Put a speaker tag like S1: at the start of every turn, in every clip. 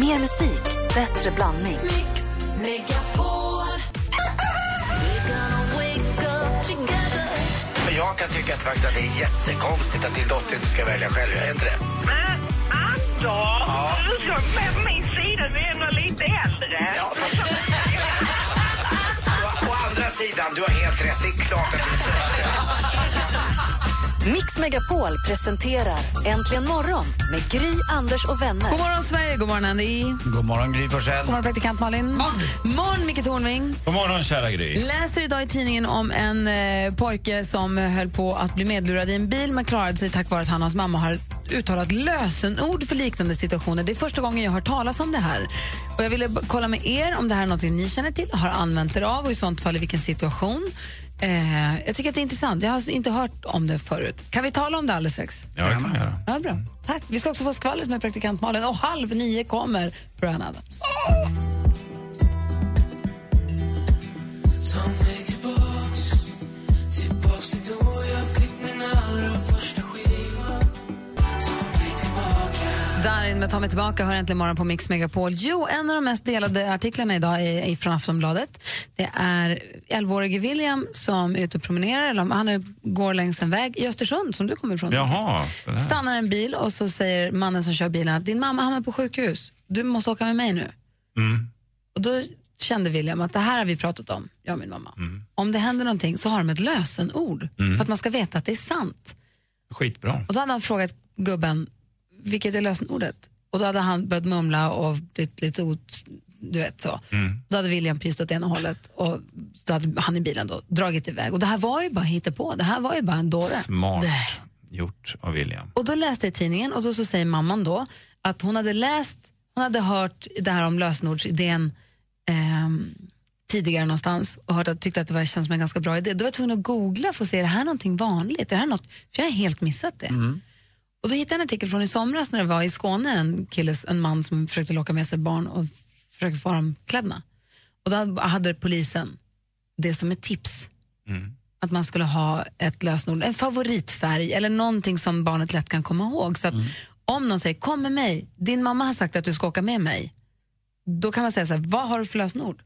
S1: Mer musik, bättre blandning.
S2: Mix Megapol. We're gonna wake up together.
S3: Men jag kan tycka att, faktiskt att det är jättekonstigt att din dotter inte ska välja själv. Är inte det?
S4: Men Anders, du som är på min sida, du är ändå lite äldre.
S3: Ja, fast- Å, å andra sidan, du har helt rätt. Det är klart att det är
S1: Mix Megapol presenterar Äntligen morgon med Gry, Anders och vänner.
S5: God morgon, Sverige! God morgon, Andy! God
S3: God morgon, Gry Forssell.
S5: morgon, praktikant Malin! God morgon, Micke Tornving!
S6: God morgon, kära Gry.
S5: Läser idag i tidningen om en eh, pojke som höll på att bli medlurad i en bil men klarade sig tack vare att han och hans mamma har uttalat lösenord för liknande situationer. Det är första gången jag har hört talas om det här. Och jag ville b- kolla med er om det här är något ni känner till, har använt er av och i sånt fall i vilken situation. Eh, jag tycker att det är intressant. Jag har alltså inte hört om det förut. Kan vi tala om det alldeles strax?
S6: Ja, det kan jag göra.
S5: Ja, bra. Tack. Vi ska också få skvallret med praktikant Malin och halv nio kommer Brian Adams.
S2: Ta mig tillbaks, tillbaks till då jag fick min allra första skiva. Ta mig tillbaka.
S5: Darin med Ta mig tillbaka hör äntligen morgon på Mix Megapol. Jo, en av de mest delade artiklarna idag är, är från Aftonbladet. Det är 11-årige William som är ute och promenerar, eller han är, går längs en väg i Östersund som du kommer ifrån.
S6: Jaha. det där.
S5: Stannar en bil och så säger mannen som kör bilen att din mamma hamnar på sjukhus, du måste åka med mig nu.
S6: Mm,
S5: Och då kände William att det här har vi pratat om, jag och min mamma.
S6: mm,
S5: Om det händer någonting så har de ett lösenord för att man ska veta att det är sant.
S6: Skitbra.
S5: Och då hade han frågat gubben, vilket är lösenordet? Och då hade han börjat mumla och blivit lite ot, du vet så.
S6: mm.
S5: Då hade William pyst åt ena hållet och då hade han i bilen då dragit iväg. Och det här var ju bara hittepå, det här var ju bara en dåre.
S6: Smart gjort av William.
S5: Och då läste jag i tidningen och då så säger mamman då att hon hade läst, hon hade hört det här om lösenordsidén ehm, tidigare någonstans och hört att, tyckte att det var, känns som en ganska bra idé. Då var jag tvungen att googla för att se, är det här någonting vanligt? Är det här något? För jag har helt missat
S2: Mm.
S5: det. Och då hittade jag en artikel från i somras när det var i Skåne en, killes, en man som försökte locka med sig barn och försökte få dem klädna. Och då hade polisen det som ett tips
S6: Mm.
S5: att man skulle ha ett lösenord, en favoritfärg eller någonting som barnet lätt kan komma ihåg. Så att Om någon säger kom med mig, din mamma har sagt att du ska åka med mig. Då kan man säga så här, vad har du för lösenord?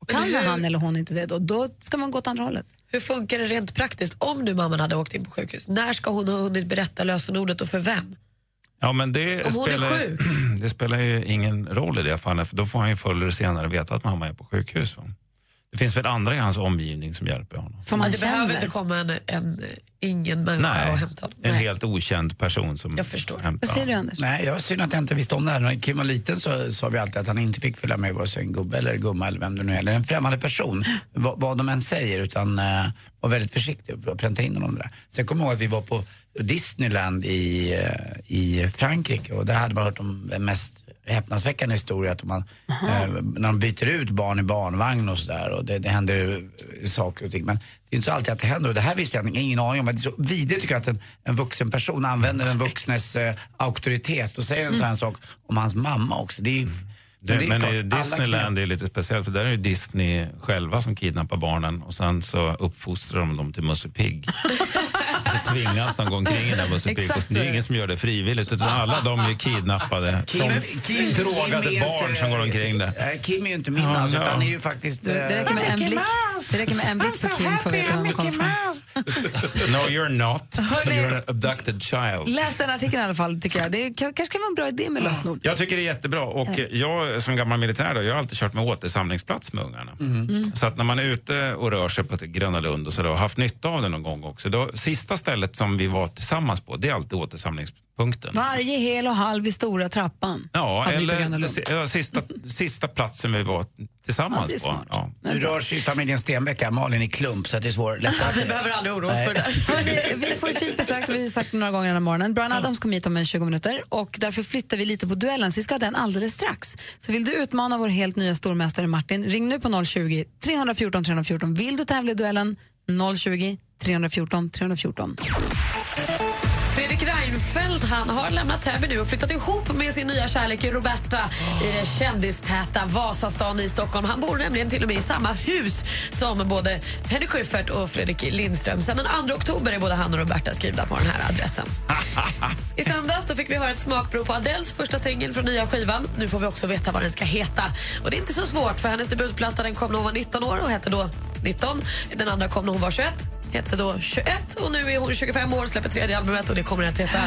S5: Och kan han eller hon inte det då, då ska man gå åt andra hållet.
S7: Hur funkar det rent praktiskt om nu mamman hade åkt in på sjukhus? När ska hon ha hunnit berätta lösenordet och för vem?
S6: Ja, men det,
S7: Om hon är
S6: spelar,
S7: sjuk.
S6: det spelar ju ingen roll i det fallet, för då får han ju förr eller senare veta att mamma är på sjukhus. Va? Det finns väl andra i hans omgivning som hjälper honom?
S5: Som
S7: Men
S5: man
S7: det behöver
S5: känner.
S7: inte komma en, en eh, ingen människa och hämta honom.
S6: en
S7: Nej.
S6: helt okänd person som
S7: Jag förstår.
S6: hämtar
S5: Vad säger du
S6: honom.
S5: Anders?
S8: Nej, jag var synd att jag inte visste om det här. När Kim var liten så sa vi alltid att han inte fick följa med vare sig en gubbe eller gumma eller vem det nu är, eller en främmande person, vad, vad de än säger, utan eh, var väldigt försiktig för att pränta in honom där. Sen kommer jag ihåg att vi var på Disneyland i, eh, i Frankrike och där hade man hört om den mest häpnadsväckande historia att om man, eh, när de byter ut barn i barnvagn och sådär och det, det händer eh, saker och ting. Men det är inte så alltid att det händer och det här visste jag ingen aning om. Men Det är så vidrigt tycker jag att en, en vuxen person använder en vuxnes eh, auktoritet och säger en sån
S5: Mm.
S8: här sak om hans mamma också. Det är, ju-
S6: Det,
S8: ju
S6: men
S8: klart,
S6: i
S8: alla
S6: Disneyland
S8: knep-
S6: är lite speciellt för där är det Disney själva som kidnappar barnen och sen så uppfostrar de dem till Musse Pigg. Och så tvingas de gå omkring i den här Musse Pigg. Och
S5: Exakt
S6: Det
S5: så är
S6: är ingen som gör det frivilligt utan alla de är kidnappade som drogade
S8: är
S6: barn
S8: inte-
S6: som går omkring där.
S8: Eh, Kim är ju inte min
S6: Ja,
S8: alltså,
S6: ja.
S8: utan han är ju faktiskt... eh,
S5: Det räcker med en blick, det räcker med en blick på Kim för att veta var man kommer ifrån.
S6: No you're not.
S5: Hörni.
S6: You're an abducted child.
S5: Läs den artikeln i alla fall tycker jag. Det kan- kanske kan vara en bra idé med lösenord.
S6: Jag tycker det är jättebra och jag som gammal militär då, jag har alltid kört med återsamlingsplats med ungarna.
S5: Mm.
S6: Så att när man är ute och rör sig på till Gröna Lund och så då, och haft nytta av det någon gång också. Då, sista stället som vi var tillsammans på, det är alltid återsamlingspunkten.
S5: Varje hel och halv i stora trappan.
S6: Ja,
S5: hade vi på Gröna
S6: eller
S5: Lund.
S6: si- ja, sista, sista platsen vi var tillsammans
S5: Ja, det är
S6: på.
S5: smart.
S6: Ja.
S8: Nu rör sig ju familjen Stenbeck här, Malin i klump så att det är svårt.
S7: Vi behöver aldrig oroa oss för det där.
S5: Hörrni, vi får ju fint besök, vi har sagt det några gånger den här morgonen. Brian Adams kommer hit om en 20 minuter och därför flyttar vi lite på duellen, så vi ska ha den alldeles strax. Så vill du utmana vår helt nya stormästare Martin, ring nu på 020-314 314. Vill du tävla i duellen? 020-314 314.
S7: Fredrik Reinfeldt han har lämnat Täby nu och flyttat ihop med sin nya kärlek Roberta i det kändistäta Vasastan i Stockholm. Han bor nämligen till och med i samma hus som både Henrik Schyffert och Fredrik Lindström. Sen den 2 oktober är både han och Roberta skrivna på den här adressen. I söndags då fick vi höra ett smakprov på Adeles första singel från nya skivan. Nu får vi också veta vad den ska heta. Och det är inte så svårt för hennes debutplatta den kom när hon var 19 år och hette då 19. Den andra kom när hon var 21 hette då 21 och nu är hon 25 år släpper tredje albumet och det kommer att heta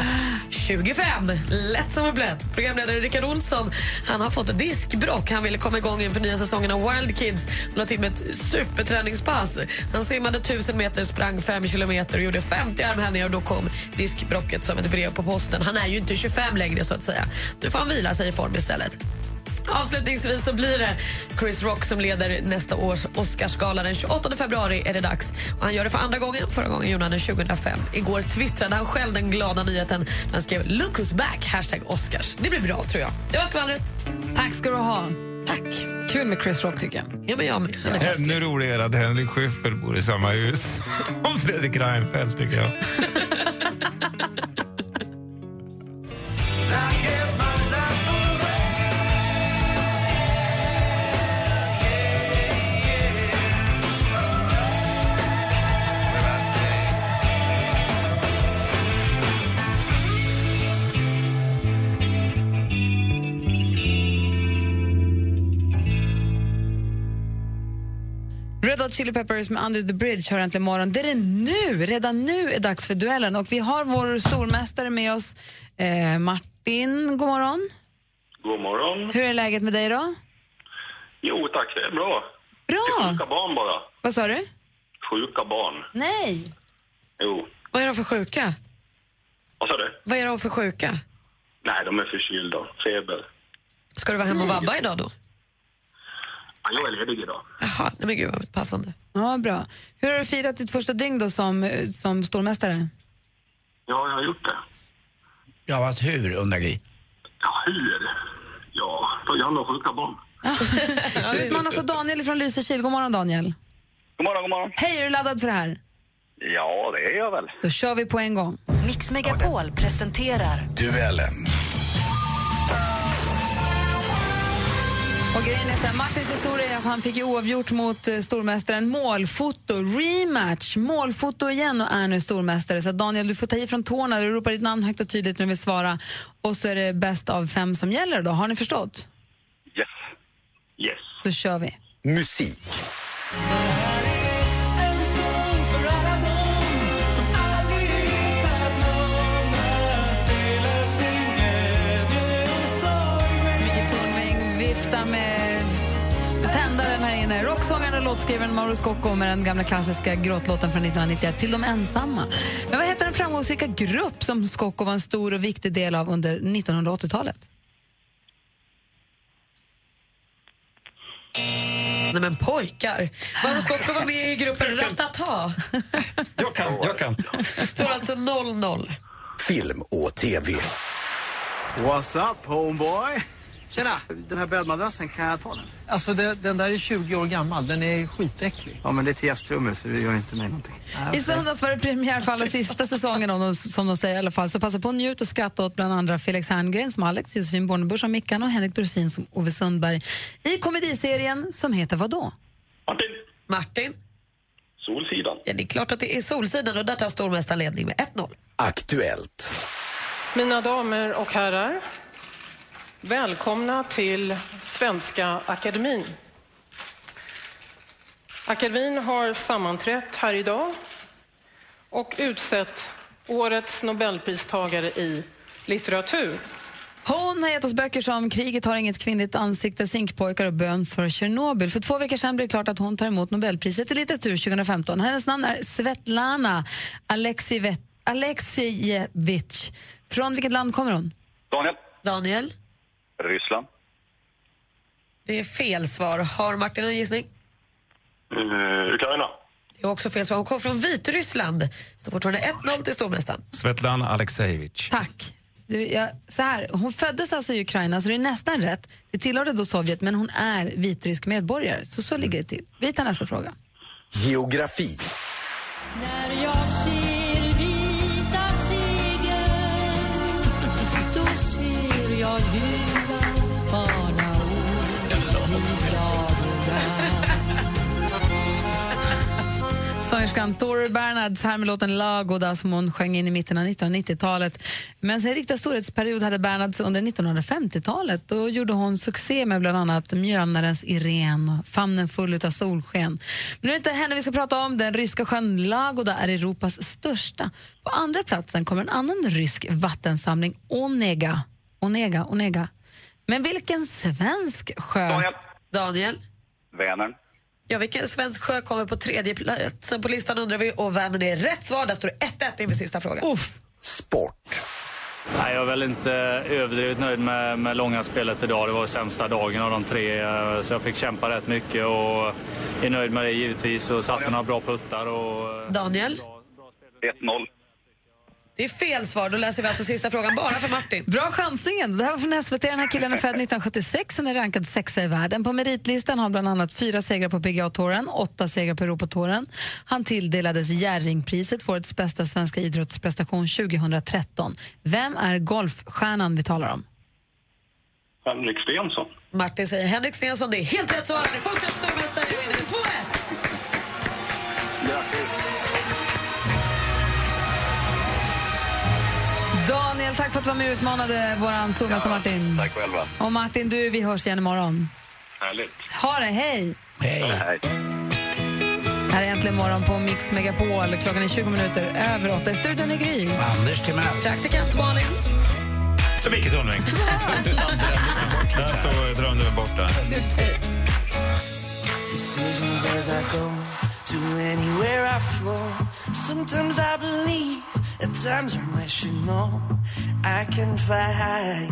S7: 25. Lätt som en plätt. Programledare Rickard Olsson han har fått diskbrock. Han ville komma igång inför nya säsongen av Wild Kids och la till med ett superträningspass. Han simmade 1000 meter, sprang 5 kilometer och gjorde 50 armhävningar och då kom diskbrocket som ett brev på posten. Han är ju inte 25 längre så att säga. Nu får han vila sig i form istället. Avslutningsvis så blir det Chris Rock som leder nästa års Oscarsgala. Den 28 februari är det dags. Och han gör det för andra gången. Förra gången gjorde han det 2005. Igår twittrade han själv den glada nyheten. Han skrev “Look who's back!” hashtag Oscars. Det blir bra, tror jag. Det var skvallret.
S5: Tack ska du ha.
S7: Tack.
S5: Kul med Chris Rock tycker jag.
S7: Ja, men jag med. Han är fast.
S6: Ännu roligare att Henrik Schyffert bor i samma hus som Fredrik Reinfeldt, tycker jag.
S5: Red Hot Chili Peppers med Under the Bridge hör äntligen morgon. Det är det nu, redan nu är dags för duellen och vi har vår stormästare med oss, eh, Martin. God morgon.
S9: God morgon.
S5: Hur är läget med dig då?
S9: Jo tack, det är bra.
S5: Bra!
S9: Sjuka barn bara.
S5: Vad sa du?
S9: Sjuka barn.
S5: Nej.
S9: Jo.
S7: Vad är de för sjuka?
S9: Vad sa du?
S7: Vad är de för sjuka?
S9: Nej, de är förkylda. Feber.
S7: Ska du vara hemma och vabba idag då?
S9: Ja, jag är ledig idag.
S7: Jaha, nej men gud vad passande.
S5: Ja, bra. Hur har du firat ditt första dygn då som, eh, som stormästare?
S9: Ja, jag har gjort det.
S8: Ja, fast hur undrar Gry?
S9: Ja, hur? Ja, ta hand om sjuka barn.
S5: Du utmanas av Daniel från Lysekil. God morgon Daniel.
S9: God morgon, god morgon.
S5: Hej, är du laddad för det här?
S9: Ja, det är jag väl.
S5: Då kör vi på en gång.
S1: Mix Megapol presenterar
S3: Duellen.
S5: Och grejen är så här, Martins historia är att han fick ju oavgjort mot eh, stormästaren målfoto, rematch, målfoto igen och är nu stormästare. Så Daniel, du får ta i från tårna, du ropar ditt namn högt och tydligt när du vill svara. Och så är det bäst av fem som gäller då, har ni förstått?
S9: Yes. Yes.
S5: Då kör vi.
S3: Musik.
S5: Micke Tornving viftar med tändaren här inne. Rocksångaren och låtskrivaren Mauro Scocco med den gamla klassiska gråtlåten från 1991, Till de ensamma. Men vad heter den framgångsrika grupp som Scocco var en stor och viktig del av under 1980-talet?
S7: Nej men pojkar. Mauro Scocco var med i gruppen Ratata.
S6: Jag kan, jag kan.
S7: Det står alltså 0-0.
S3: Film och TV.
S10: What's up homeboy? Tjena! Den här bäddmadrassen, kan jag ta den? Alltså den där är 20 år gammal, den är skitäcklig. Ja men det är till gästrummet så det gör inte mig någonting.
S5: I söndags var det premiär för allra sista säsongen, om de, som de säger i alla fall. Så passa på att njut och skratta åt bland andra Felix Herngren som Alex, Josefin Bornebusch som Mickan och Henrik Dorsin som Ove Sundberg i komediserien som heter vadå?
S9: Martin.
S7: Martin?
S9: Solsidan.
S7: Ja, det är klart att det är Solsidan och där tar stormästaren ledning med 1-0.
S3: Aktuellt.
S11: Mina damer och herrar, välkomna till Svenska Akademin. Akademin har sammanträtt här idag och utsett årets Nobelpristagare i litteratur.
S5: Hon har gett oss böcker som Kriget har inget kvinnligt ansikte, Zinkpojkar och Bön för Tjernobyl. För två veckor sedan blev det klart att hon tar emot Nobelpriset i litteratur 2015. Hennes namn är Svetlana Alexivet- Alexievich. Från vilket land kommer hon?
S9: Daniel.
S7: Daniel?
S9: Ryssland.
S7: Det är fel svar. Har Martin en gissning?
S9: Ukraina.
S7: Det är också fel svar. Hon kom från Vitryssland. Så fortfarande 1-0 till stormästaren.
S6: Svetlana Aleksejevich.
S5: Tack. Du, jag, så här, hon föddes alltså i Ukraina, så det är nästan rätt. Det tillhörde då Sovjet, men hon är vitrysk medborgare. Så så ligger det till. Vi tar nästa fråga.
S3: Geografi.
S2: När jag ser vita segel
S5: sångerskan Tori Bernhards här med låten Lagoda som hon sjöng in i mitten av 1990-talet. Men sin riktiga storhetsperiod hade Bernhards under 1950-talet. Då gjorde hon succé med bland annat Mjölnarens Irene och Famnen full utav solsken. Men nu är det inte henne vi ska prata om. Den ryska sjön Lagoda är Europas största. På andra platsen kommer en annan rysk vattensamling, Onega. Onega, Onega. Men vilken svensk sjö?
S7: Daniel?
S12: Vänern.
S7: Ja, vilken svensk sjö kommer på tredje platsen på listan undrar vi och Vänern är rätt svar. Där står det 1-1 inför sista frågan. Uff.
S13: Nej, jag är väl inte överdrivet nöjd med, med långa spelet idag. Det var sämsta dagen av de tre, eh, så jag fick kämpa rätt mycket och är nöjd med det givetvis och satte några bra puttar. Och...
S7: Daniel?
S12: 1-0.
S7: Det är fel svar. Då läser vi alltså sista frågan bara för Martin.
S5: Bra chansningen. Det här var från SVT. Den här killen är född 1976. Han är rankad sexa i världen. På meritlistan har han bland annat fyra segrar på PGA-touren, åtta segrar på Europatouren. Han tilldelades Jerringpriset för årets bästa svenska idrottsprestation 2013. Vem är golfstjärnan vi talar om?
S9: Henrik Stensson.
S7: Martin säger Henrik Stensson. Det är helt rätt svar. Han är fortsatt stormästare och vinner med 2-1.
S5: Daniel, tack för att du var med och utmanade vår stormästare Martin.
S12: Tack själva.
S5: Och Martin, du, vi hörs igen imorgon.
S12: Härligt.
S5: Ha det, hej!
S8: Hej.
S5: Här är äntligen morgon på Mix Megapol. Klockan är 20 minuter över åtta. I studion är Gry.
S8: Anders Timell.
S7: Praktikant Malin.
S6: Vilket hundring! Där står drömmen borta.
S2: Decisions as I go to anywhere I flow. Sometimes I believe, at times I'm rational. I can fly high.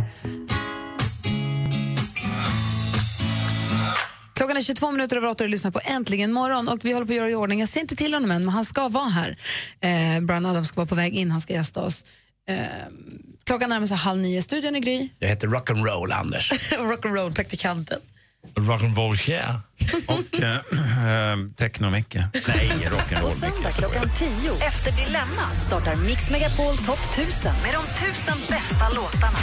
S5: Klockan är 22 minuter över åtta och du lyssnar på Äntligen morgon. Och vi håller på att göra i ordning. Jag ser inte till honom än, men han ska vara här. Eh, Brian Adams ska vara på väg in, han ska gästa oss. Eh, klockan närmar sig halv nio. Studion är Gry.
S8: Jag heter Rock'n'Roll, Anders.
S7: Rock'n'roll, praktikanten.
S6: Rock'n'roll Cher. Och eh, eh, Techno-Micke. Nej,
S1: Och söndag klockan 10 efter Dilemma startar Mix Megapol Topp 1000 med de 1000 bästa låtarna.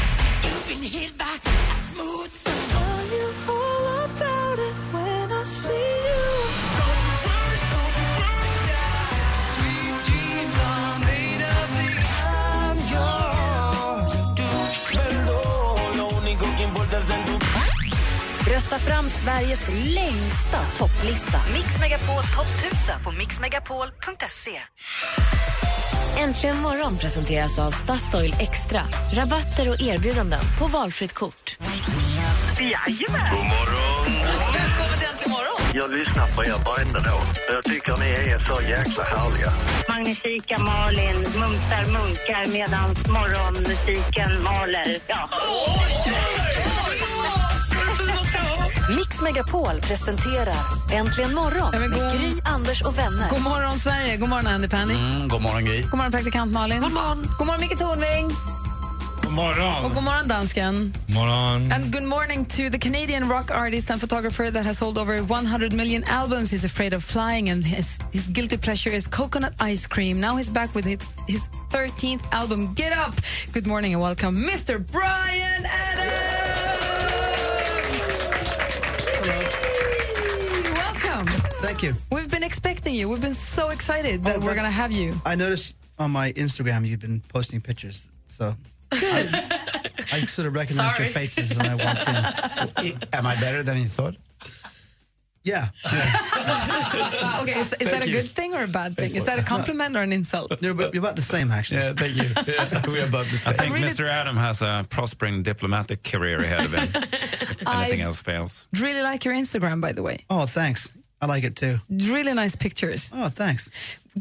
S1: Rösta fram Sveriges längsta topplista. Mix Megapol Topp 1000 på mixmegapol.se.
S14: Äntligen morgon presenteras av Statoil Extra. Rabatter och erbjudanden på valfritt kort.
S4: Jajamän!
S14: God
S4: morgon!
S5: Välkommen till Äntligen morgon!
S15: Jag lyssnar på er varenda dag. Jag tycker ni är så jäkla härliga.
S16: Magnifika Malin mumsar munkar medan morgonmusiken maler. Ja.
S1: Mix Megapol presenterar Äntligen morgon
S5: Ja, men
S1: med
S5: god-
S1: Gry, Anders och vänner.
S5: God morgon, Sverige. God morgon, Andy Pandy.
S8: Mm, god morgon, Gry.
S5: God morgon, praktikant Malin. God morgon, god morgon Micke Tornving.
S6: God
S5: Och god
S6: morgon!
S5: morgon, dansken.
S6: morgon.
S5: Mm. And good morning to the Canadian rock artist and photographer that has sold over 100 million albums. He's afraid of flying, and his, his guilty pleasure is coconut ice cream. Now he's back with his, his 13th album, Get Up. Good morning and welcome, Mr. Brian Adams. Welcome.
S17: Thank you.
S5: We've been expecting you. We've been so excited that
S17: Oh,
S5: we're
S17: that's-
S5: going to have you.
S17: I noticed on my Instagram you've been posting pictures, so I, I sort of recognized your
S8: Sorry.
S17: faces when I walked in.
S8: Am I better than you thought?
S17: Yeah.
S5: okay, is, is
S17: Thank
S5: that a
S17: you.
S5: good thing or a bad thing?
S17: Thank
S5: Is
S17: you.
S5: that a compliment or an insult?
S17: You're, about- you're about the same, actually.
S8: Yeah, thank you. we're about the
S6: I think
S5: really-
S6: Mr Adam has a prospering diplomatic career ahead of him. if anything
S5: I-
S6: else fails.
S5: Really like your Instagram, by the way.
S17: Oh, thanks. I like it too.
S5: Really nice pictures.
S17: Oh, thanks.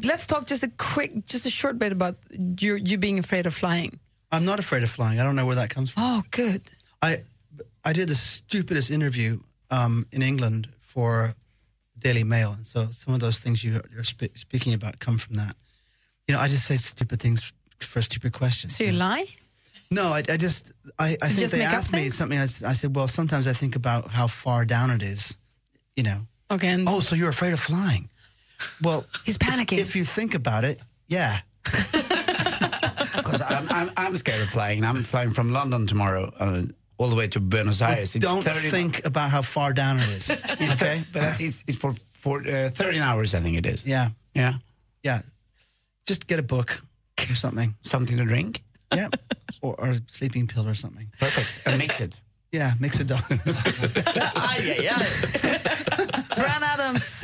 S5: Let's talk just a quick, just a short bit about you, you being afraid of flying.
S17: I'm not afraid of flying. I don't know where that comes from.
S5: Oh, good.
S17: I I did the stupidest interview um, in England for Daily Mail, and so some of those things you, you're spe- speaking about come from that. You know, I just say stupid things for stupid questions.
S5: So you lie?
S17: No, I, I just I,
S5: So
S17: I think
S5: just
S17: they
S5: make up
S17: asked me
S5: things?
S17: something. I, s- I said, well, sometimes I think about how far down it is. You know.
S5: Okay. And
S17: oh, so you're afraid of flying? Well, he's panicking. If, if you think about it, yeah.
S8: Because I'm, I'm, I'm scared of flying. I'm flying from London tomorrow uh, all the way to Buenos
S17: Well,
S8: Aires. It's
S17: don't
S8: 30
S17: think about how far down it is.
S8: okay, but that's, it's, it's for, for uh, 13 hours, I think it is.
S17: Yeah.
S8: Yeah.
S17: yeah, just get a book or something.
S8: Something to drink?
S17: Yeah, or, or a sleeping pill or something.
S8: Perfect. And mix it.
S17: Yeah, mix it up.
S5: Brian Adams.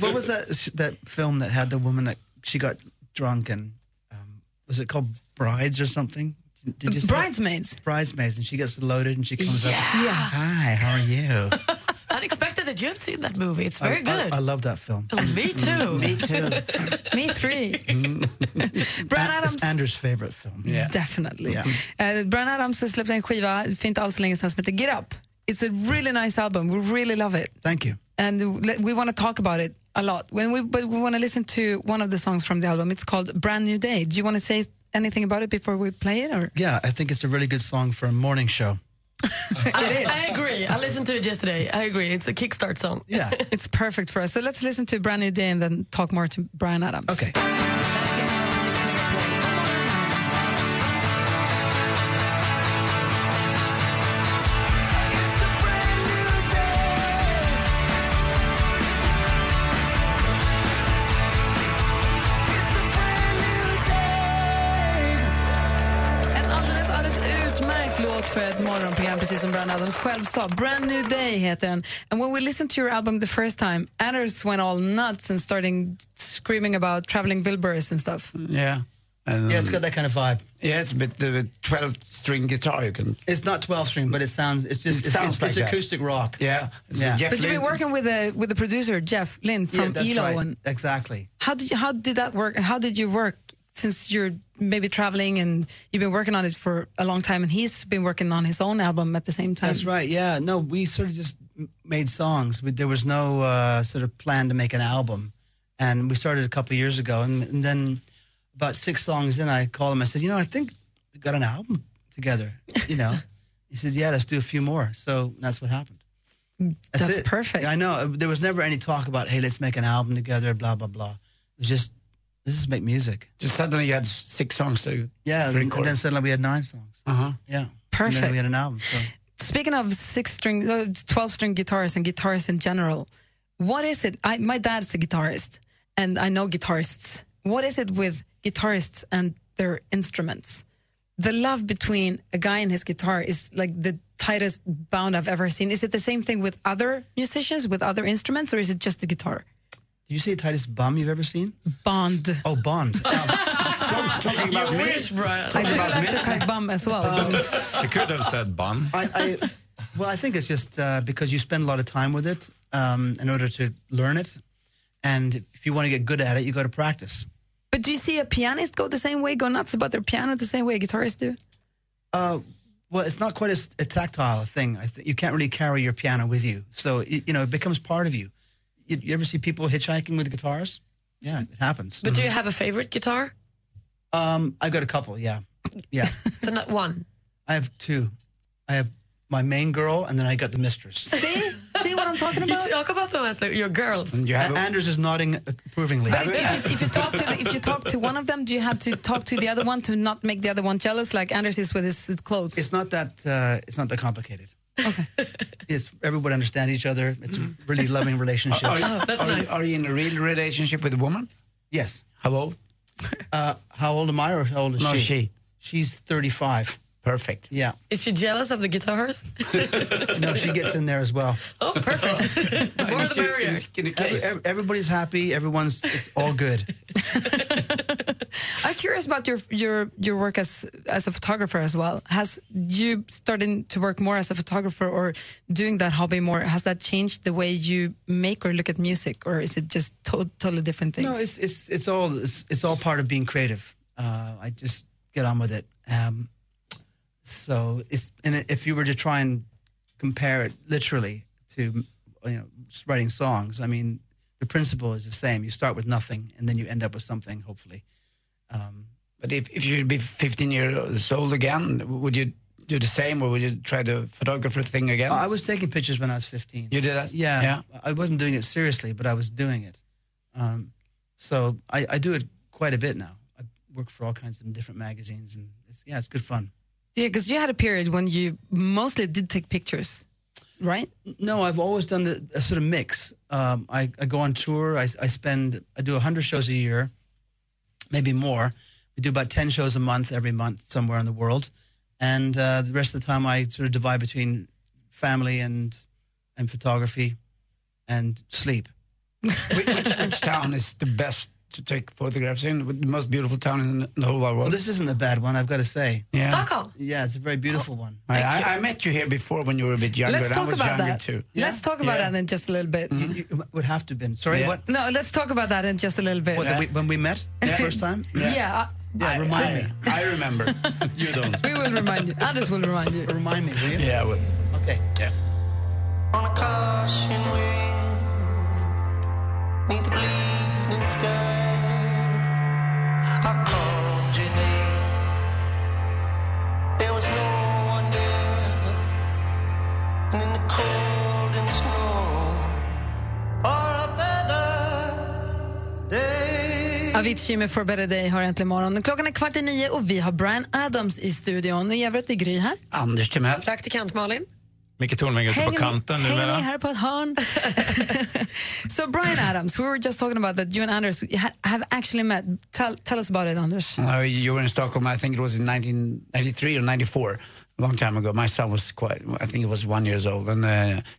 S17: what was that sh- that film that had the woman that she got drunk and um, was it called Brides or something? Did you see it?
S5: Bridesmaids.
S17: Bridesmaids, and she gets loaded and she comes
S7: Yeah.
S17: up.
S7: Yeah.
S17: Hi, how are you?
S7: Unexpected that you've seen that movie. It's very
S17: I,
S7: good.
S17: I, I love that film. Mm-hmm.
S7: Me too.
S17: Me too.
S5: Oh, Me three. Brian Adams.
S17: Mm. It's Anders' favorite film.
S5: Definitely.
S17: Yeah.
S5: Eh, Brian Adams släppte en skiva för inte alls länge sedan som heter Get Up. It's a really nice album. We really love it.
S17: Thank you.
S5: And le- we want to talk about it a lot. When we, but we want to listen to one of the songs from the album. It's called Brand New Day. Do you want to say anything about it before we play it? Or?
S17: Yeah, I think it's a really good song for a morning show.
S7: I, I agree. I listened to it yesterday. I agree. It's a kickstart song.
S17: Yeah.
S5: It's perfect for us. So let's listen to Brand New Day and then talk more to Brian Adams. Okay. En alldeles, alldeles utmärkt låt för ett morgonprogram, precis som Brian Adams själv sa. Brand New Day heter den. And when we listened to your album the first time, Anders went all nuts and starting screaming about traveling Wilburys and stuff.
S17: Mm.
S8: Yeah. And,
S17: Yeah, it's got that kind of vibe.
S8: Yeah, it's a bit of a 12 string guitar. You can.
S17: It's not 12 string, but it sounds, it's just,
S8: It
S17: it's,
S8: sounds
S17: it's,
S8: like
S17: it's
S8: that.
S17: acoustic rock.
S8: Yeah.
S17: Yeah.
S5: But you've been working with the, with the producer, Jeff Lynn
S17: Yeah,
S5: from
S17: that's
S5: ELO.
S17: right.
S5: And
S17: Exactly.
S5: how, did you, how did that work? How did you work since you're maybe traveling and you've been working on it for a long time and he's been working on his own album at the same time?
S17: That's right. Yeah. No, we sort of just m- made songs. We, there was no uh, sort of plan to make an album, and we started a couple years ago. And, and then about six songs in, I called him. I said, "You know, I think we got an album together." You know, he said, "Yeah, let's do a few more." So that's what happened. That's, perfect. I know. Uh, There was never any talk about, "Hey, let's make an album together." Blah blah blah. It was just let's just make music.
S8: Just suddenly you had s- six songs to
S17: Yeah, and
S8: to record.
S17: then suddenly we had nine songs.
S8: Uh huh.
S17: Yeah, And
S5: Perfect.
S17: then we had an album. So.
S5: Speaking of six string, uh, twelve string guitarists and guitarists in general, what is it? I, my dad's a guitarist, and I know guitarists. What is it with guitarists and their instruments? The love between a guy and his guitar is like the tightest bound I've ever seen. Is it the same thing with other musicians with other instruments, or is it just the guitar
S17: Did you see the tightest bum you've ever seen?
S5: bond?
S17: Oh, Bond.
S8: talking
S17: about me.
S5: I do
S17: about
S5: like
S17: me.
S5: the tight bum as well.
S6: She could have said bun.
S17: I, I, well, I think it's just uh, because you spend a lot of time with it um, in order to learn it, and if you want to get good at it, you got to practice.
S5: But do you see a pianist go the same way, go nuts about their piano the same way guitarists do?
S17: Uh, well, it's not quite as a tactile thing. I th- you can't really carry your piano with you, so it, you know it becomes part of you. you. You ever see people hitchhiking with guitars? Yeah, it happens. Mm-hmm.
S7: But do you have a favorite guitar?
S17: Um, I've got a couple. Yeah, yeah.
S7: So not one.
S17: I have two. I have my main girl, and then I got the mistress.
S5: See? See what I'm talking
S7: You
S5: about?
S7: talk about them as like your girls.
S8: And you have a-
S17: Anders is nodding approvingly.
S5: But if, if, you, if you talk to the, if you talk to one of them, do you have to talk to the other one to not make the other one jealous, like Anders is with his his clothes?
S17: It's not that uh, it's not that complicated. Okay. It's everybody understands each other. It's
S5: Mm.
S17: a really loving relationship.
S5: Oh,
S8: Are, are, are you in a real relationship with a woman?
S17: Yes.
S8: How old?
S17: Uh, how old am I or how old is
S8: No,
S17: she?
S8: she.
S17: She's 35.
S8: Perfect.
S17: Yeah.
S7: Is she jealous of the guitars?
S17: No, she gets in there as well.
S7: Oh, perfect. More the merrier.
S17: Every- ev- everybody's happy. Everyone's it's all good.
S5: I'm curious about your your your work as as a photographer as well. Has you starting to work more as a photographer or doing that hobby more? Has that changed the way you make or look at music, or is it just to- totally different things?
S17: No, it's it's it's all it's, it's all part of being creative. Uh, I just get on with it. Um, so it's and if you were to try and compare it literally to you know writing songs, I mean the principle is the same. You start with nothing and then you end up with something, hopefully. Um,
S8: But if, if you'd be 15 years old again, would you do the same or would you try the photographer thing again?
S17: I was taking pictures when I was fifteen.
S8: you did that?
S17: Yeah,
S8: Yeah.
S17: I wasn't doing it seriously, but I was doing it. Um, so I, I do it quite a bit now. I work for all kinds of different magazines, and it's, yeah, it's good fun.
S5: yeah, because you had a period when you mostly did take pictures. right?
S17: No, I've always done the a sort of mix. Um, I, I go on tour. I, I spend I do hundred shows a year, maybe more. We do about ten shows a month every month somewhere in the world, and uh, the rest of the time I sort of divide between family and and photography, and sleep.
S8: Which town is the best to take photographs in? The most beautiful town in the whole wide world?
S17: Well, this isn't a bad one, I've got to say.
S8: Yeah.
S5: Stockholm.
S17: Yeah, it's a very beautiful one.
S8: I, I, I met you here before when you were a bit younger.
S5: Let's
S8: and I
S5: talk
S8: was
S5: about
S8: younger
S5: that.
S8: too.
S5: Let's talk about that in just a little bit.
S17: You, you would have to have been. Sorry,
S8: Yeah.
S17: what?
S5: No, let's talk about that in just a little bit.
S17: what that we, when we met the first time?
S5: yeah. uh,
S17: Yeah, remind me.
S8: I remember. you don't.
S5: we will remind you. Anders will remind you.
S17: Remind me, will you?
S8: Yeah, I will.
S17: Okay.
S8: Yeah.
S2: On a caution wind, neath the bleeding sky, I called your name. There was no one there, and in the cold and snow, for a better day.
S5: Avicii med For Better Day har äntligen morgon. Klockan är kvart i nio och vi har Brian Adams i studion. I övrigt är Gry här.
S8: Anders Timell.
S5: Praktikant Malin.
S6: Micke Tornving ute på
S5: Hanging-
S6: kanten
S5: hanging
S6: numera.
S5: här på ett hörn. so Brian Adams, we were just talking about that you and Anders ha have actually met. Tell, tell us about it, Anders.
S8: Uh, you were in Stockholm, I think it was in 1993 or 94, a long time ago. My son was quite, I think it was one years old, and uh,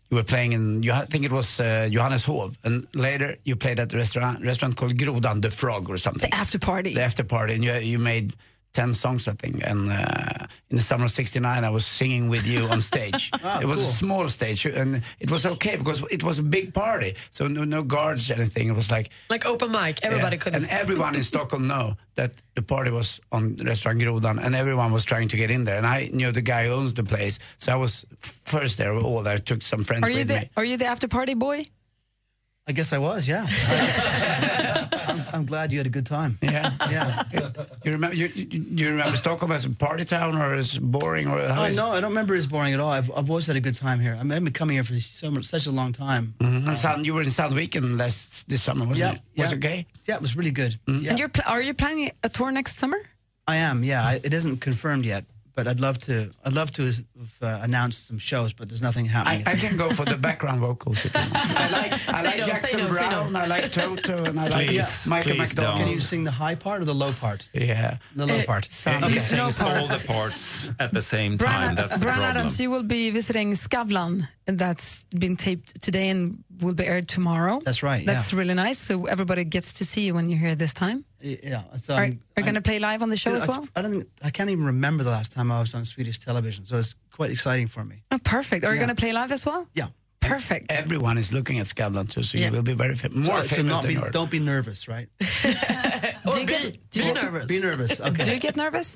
S8: you were playing in, you, I think it was uh, Johannes Hov, and later you played at a restaurant, restaurant called Grodan the Frog or something. The
S5: after party.
S8: The after party, and you, you made 10 songs, I think, and uh, in the summer of 69 I was singing with you on stage.
S17: Ah,
S8: it was
S17: cool.
S8: a small stage, and it was okay because it was a big party, so no, no guards, anything. It was like,
S7: Like open mic, everybody
S8: yeah.
S7: could.
S8: And everyone in Stockholm know that the party was on restaurant Grodan, and everyone was trying to get in there. And I knew the guy who owns the place, so I was first there. with All that. I took some friends
S5: Are you,
S8: with
S5: the,
S8: me.
S5: are you the after party boy?
S17: I guess I was, yeah. I'm, I'm glad you had a good time.
S8: Yeah.
S17: Yeah.
S8: You remember? You, you you remember Stockholm as a party town, or as boring, or how
S17: Oh,
S8: is-
S17: no, I don't remember it as boring at all. I've, I've always had a good time here. I mean, I've been coming here for so much, such a long time.
S8: Mhm. And Sun- you were in Sandviken last this summer, wasn't
S17: Yeah,
S8: it? Was it okay? Mm-hmm.
S17: Yeah, it was really good. Yeah.
S5: And you're pl- are you planning a tour next summer?
S17: I am, yeah. I, it isn't confirmed yet, but I'd love to. I'd love to uh, announce some shows, but there's nothing
S8: I,
S17: happening.
S8: I can go for the background vocals. If you want. I like, I
S17: Say
S8: like
S17: no, say
S8: Jackson
S17: no, say no.
S8: Brown. I like Toto, and I like
S17: Please,
S8: Michael
S17: please
S8: McDonald.
S17: Can you sing the high part or the low part?
S8: Yeah.
S17: The low
S5: Eh,
S17: part.
S6: It it sings all the parts at the same time.
S5: Brian,
S6: That's the
S5: Brian
S6: problem.
S5: Adams, you will be visiting Skavlan, and that's been taped today and will be aired tomorrow.
S17: That's right,
S5: That's
S17: yeah.
S5: really nice. So everybody gets to see you when you're here this time.
S17: Yeah. So
S5: are
S17: I'm-
S5: are you going to play live on the show
S17: I,
S5: as well?
S17: I don't think I can't even remember the last time I was on Swedish television, so it's quite exciting for me.
S5: Oh, perfect. Are you
S17: Yeah.
S5: going to play live as well?
S17: Yeah.
S5: Perfect.
S8: Everyone is looking at Skavlan too, so
S5: Yeah.
S8: you will be very fam- more
S17: So- so
S8: famous
S17: not
S8: than
S17: be-
S8: you are.
S17: Don't be nervous, right?
S5: Do you get, do you get
S17: Be nervous. Okay.
S5: Do you get nervous?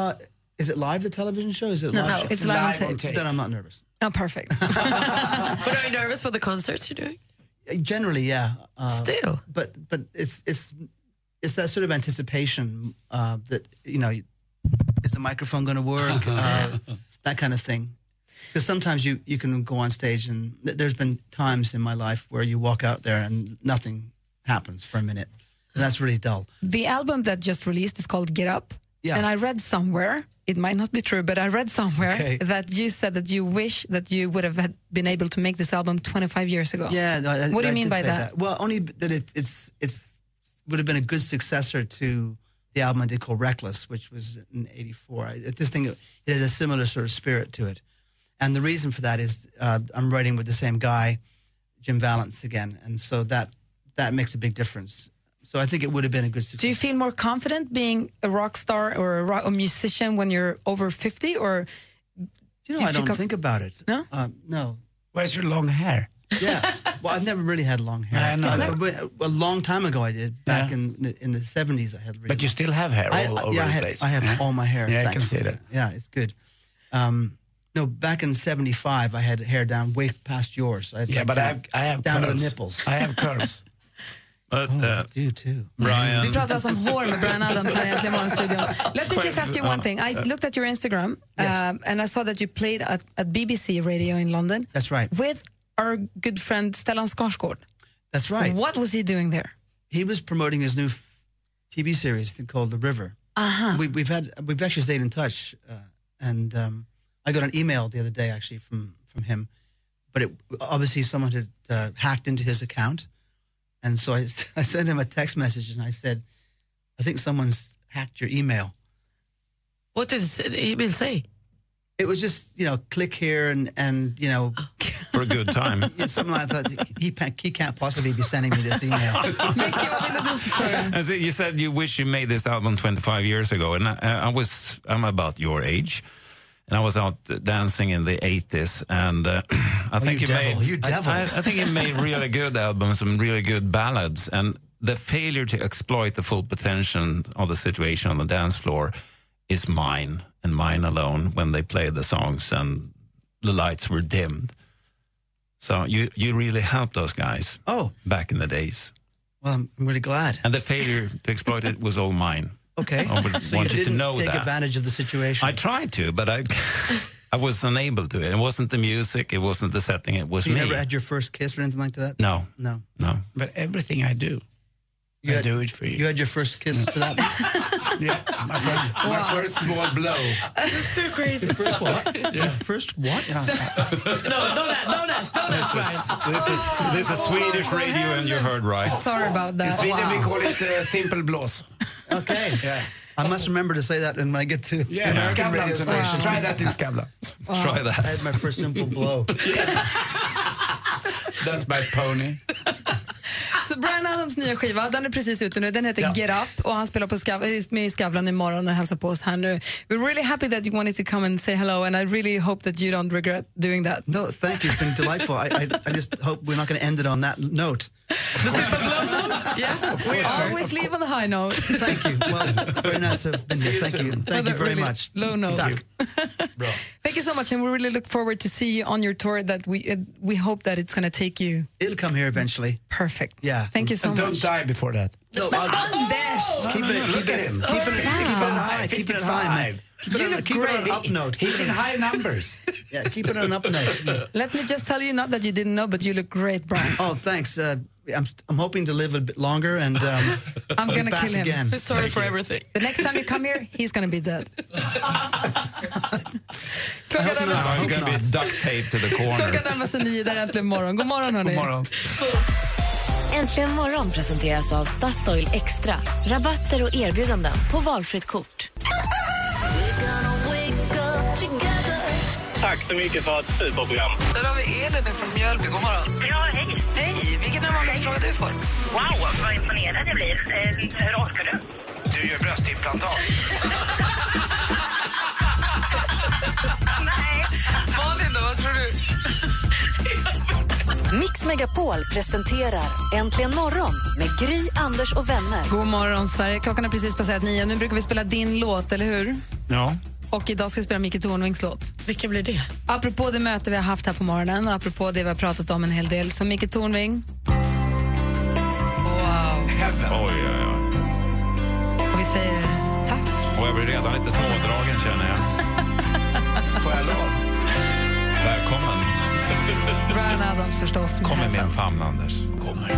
S17: Uh, is it live the television show? Is it
S5: No,
S17: live?
S5: no,
S17: show?
S5: it's live on Live on tape. tape.
S17: Then I'm not nervous.
S5: Oh, perfect.
S7: But are you nervous for the concerts you're doing?
S17: Uh, Generally, yeah. Uh,
S7: Still.
S17: but but it's it's it's that sort of anticipation uh, that you know, is the microphone going to work? uh, that kind of thing. Because sometimes you you can go on stage and th- there's been times in my life where you walk out there and nothing happens for a minute, and that's really dull.
S5: The album that just released is called Get Up.
S17: Yeah.
S5: And I read somewhere, it might not be true, but I read somewhere
S17: Okay.
S5: that you said that you wish that you would have had been able to make this album 25 years ago.
S17: Yeah. no, I-
S5: what do
S17: I
S5: you mean
S17: did
S5: by
S17: say
S5: that?
S17: Well, only b- that it, it's it's would have been a good successor to the album I did called Reckless, which was in '84. I- This thing it has a similar sort of spirit to it, and the reason for that is uh, I'm writing with the same guy, Jim Valance again, and so that that makes a big difference. So I think it would have been a good success.
S5: Do you feel more confident being a rock star or a, rock, a musician when you're over 50? Or
S17: You know,
S5: do you
S17: I
S5: feel
S17: don't
S5: com-
S17: think about it.
S5: No?
S17: Um, no.
S8: Where's your long hair?
S17: Yeah. Well, I've never really had long hair.
S8: I know
S17: Uh,
S8: that.
S17: but A long time ago, I did. Back in the, in the 70s, I had really
S8: But you still have hair
S17: I-
S8: all
S17: I-
S8: over
S17: yeah,
S8: the
S17: I had,
S8: place.
S17: I have all my hair.
S8: Yeah, I can
S17: thanks.
S8: see that.
S17: Yeah, it's good. Um, no, back in '75, I had hair down way past yours. I had,
S8: Yeah,
S17: like,
S8: but I
S17: down,
S8: have, I have
S17: down
S8: curls.
S17: to the nipples. Oh,
S8: I have curls.
S6: But, uh,
S17: you too.
S6: Brian.
S5: Vi pratar alltså om hår med Brian Adams här i Äntligen Morgon-studion. Let me just ask you one thing.
S17: uh,
S5: I looked at your Instagram um, and I saw that you played at, at BBC Radio in London
S17: That's right.
S5: with our good friend Stellan Skarsgård.
S17: That's right.
S5: What was he doing there?
S17: He was promoting his new f- TV series thing called The River.
S5: Aha.
S17: We, we've had we've actually stayed in touch, uh, and um, I got an email the other day actually from from him but it, obviously someone had uh, hacked into his account, and so I, I sent him a text message and I said, "I think someone's hacked your email."
S7: What does the email say?
S17: It was just you know click here and and you know
S6: for a good time.
S17: something like that. He pa- he can't possibly be sending me this email.
S6: As it- you said, you wish you made this album 25 years ago, and I, I was I'm about your age, and I was out dancing in the 80s, and uh, I
S17: Oh,
S6: think
S17: you devil,
S6: made
S17: you devil.
S6: I, I, I think you made really good albums and really good ballads, and the failure to exploit the full potential of the situation on the dance floor is mine and mine alone. When they played the songs and the lights were dimmed. So you, you really helped those guys.
S17: Oh,
S6: back in the days.
S17: Well, I'm really glad.
S6: And the failure to exploit it was all mine.
S17: Okay,
S6: I would
S17: so you
S6: want you to
S17: didn't
S6: know
S17: take
S6: that.
S17: advantage of the situation.
S6: I tried to, but I I was unable to. It wasn't the music, it wasn't the setting, it was
S17: you
S6: me.
S17: never had your first kiss or anything like that.
S6: No.
S17: no.
S5: Oh,
S6: No.
S8: But everything I do,
S17: You had,
S8: do it for you.
S17: You had your first kiss to that.
S8: yeah, my first, my
S17: Wow.
S8: first small blow.
S7: That's too crazy.
S17: First what? Your first what?
S7: no, don't ask, don't ask, don't
S6: This
S7: ask.
S6: is
S7: Brian.
S6: this is this is Swedish radio and you heard right.
S5: Sorry about that.
S8: In Sweden we
S5: Wow.
S8: call it uh, simple blås.
S17: Okay.
S8: Yeah.
S17: I must remember to say that when I get to
S8: Yeah, Skavlan tonight. Try that in Skavlan.
S17: Wow.
S8: Try that.
S17: I had my first simple blow.
S8: That's my pony.
S5: Så Brian Adams nya skiva, den är precis ute nu. Den heter
S8: Ja.
S5: Get Up och han spelar på Skav- eh, med i Skavlan imorgon och hälsar på oss här nu. We're really happy that you wanted to come and say hello and I really hope that you don't regret doing that.
S17: No, thank you. It's been delightful. I, I, I just hope we're not going to end it on that note.
S5: Yes, we always leave on the high note.
S17: Thank you. Well, very nice to have been here. Thank you. Thank you very much.
S5: Low note.
S17: Tack.
S5: Thank you so much and we really look forward to see you on your tour that we, uh, we hope that it's going to take you.
S17: It'll come here eventually.
S5: Perfect.
S17: Yeah.
S5: Thank you so
S8: And don't
S5: much.
S8: die before that.
S17: No,
S5: Men
S17: I'll-
S5: Anders!
S17: Keep it, keep it, keep it,
S5: Wow.
S17: high, keep it high, man. Keep it
S5: You
S17: on-
S5: look
S17: keep it on an
S5: great.
S17: up note. Keep it high numbers. Yeah, keep it on an up note.
S5: Let me just tell you, not that you didn't know, but you look great, Brian.
S17: Oh, thanks. Uh, I'm, I'm hoping to live a bit longer, and um,
S5: I'm
S17: be
S5: gonna
S17: back
S5: kill him.
S17: Again.
S5: Sorry
S17: Thank
S5: for
S17: you.
S5: everything. The next time you come here, he's gonna be dead. Klockan
S6: No, it's gonna be duct tape to the corner.
S5: Klockan närmar sig nio, där är äntligen morgon. God morgon, hörni.
S14: Äntligen morgon presenteras av Statoil Extra. Rabatter och erbjudanden på valfritt kort.
S12: Tack så mycket för ett superprogram.
S5: Där har vi Elin från Mjölby. God morgon.
S4: Ja, hej.
S5: Hej. Vilken är vanligaste fråga du får?
S4: Wow, vad imponerad jag blir. Eh, hur orkar du?
S3: Du gör bröstimplantat.
S5: Malin, då, vad tror du?
S14: Mix Megapol presenterar Äntligen morgon med Gry, Anders och vänner.
S5: God morgon, Sverige. Klockan är precis passerat nio. Nu brukar vi spela din låt, eller hur?
S6: Ja.
S5: Och idag ska vi spela Micke Tornvings låt.
S7: Vilken blir det?
S5: Apropå det möte vi har haft här på morgonen och apropå det vi har pratat om en hel del, så Micke Tornving. Wow.
S6: Oj, oj, oj.
S5: Och vi säger tack.
S6: Och jag blir redan lite smådragen känner jag. Får jag lov? Välkommen.
S5: Brian Adams förstås. med
S6: Kommer
S5: Heaven.
S6: med en famn, Anders. Kommer.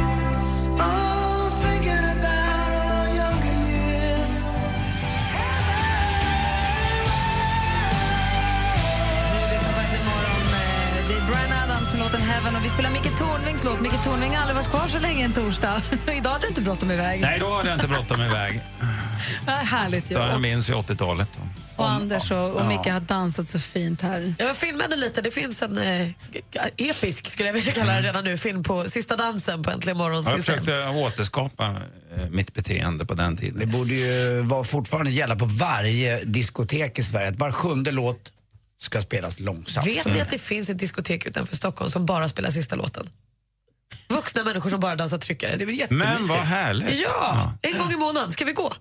S5: Du lyssnar på Äntligen morgon. Eh, Det är Brian Adams med låten Heaven och vi spelar Micke Tornvings låt. Micke Tornving har aldrig varit kvar så länge en torsdag. Idag hade du inte bråttom iväg.
S6: Nej, då hade jag inte bråttom iväg.
S5: Ja, härligt ju.
S6: Då jag
S5: Och,
S6: minns ju 80-talet. då.
S5: och Anders och, och Micke har dansat så fint här.
S7: Jag filmade lite. Det finns en eh, episk, skulle jag vilja kalla det redan nu, film på Sista dansen på Äntligen morgon.
S6: Ja, Jag
S7: Sista-
S6: försökte återskapa eh, mitt beteende på den tiden.
S8: Det borde ju vara fortfarande gälla på varje diskotek i Sverige att var sjunde låt ska spelas långsamt.
S7: Vet ni att det finns ett diskotek utanför Stockholm som bara spelar sista låten? Vuxna människor som bara dansar tryckare. Det är väl jättemysigt?
S6: Men vad härligt.
S7: Ja, en gång i månaden. Ska vi gå?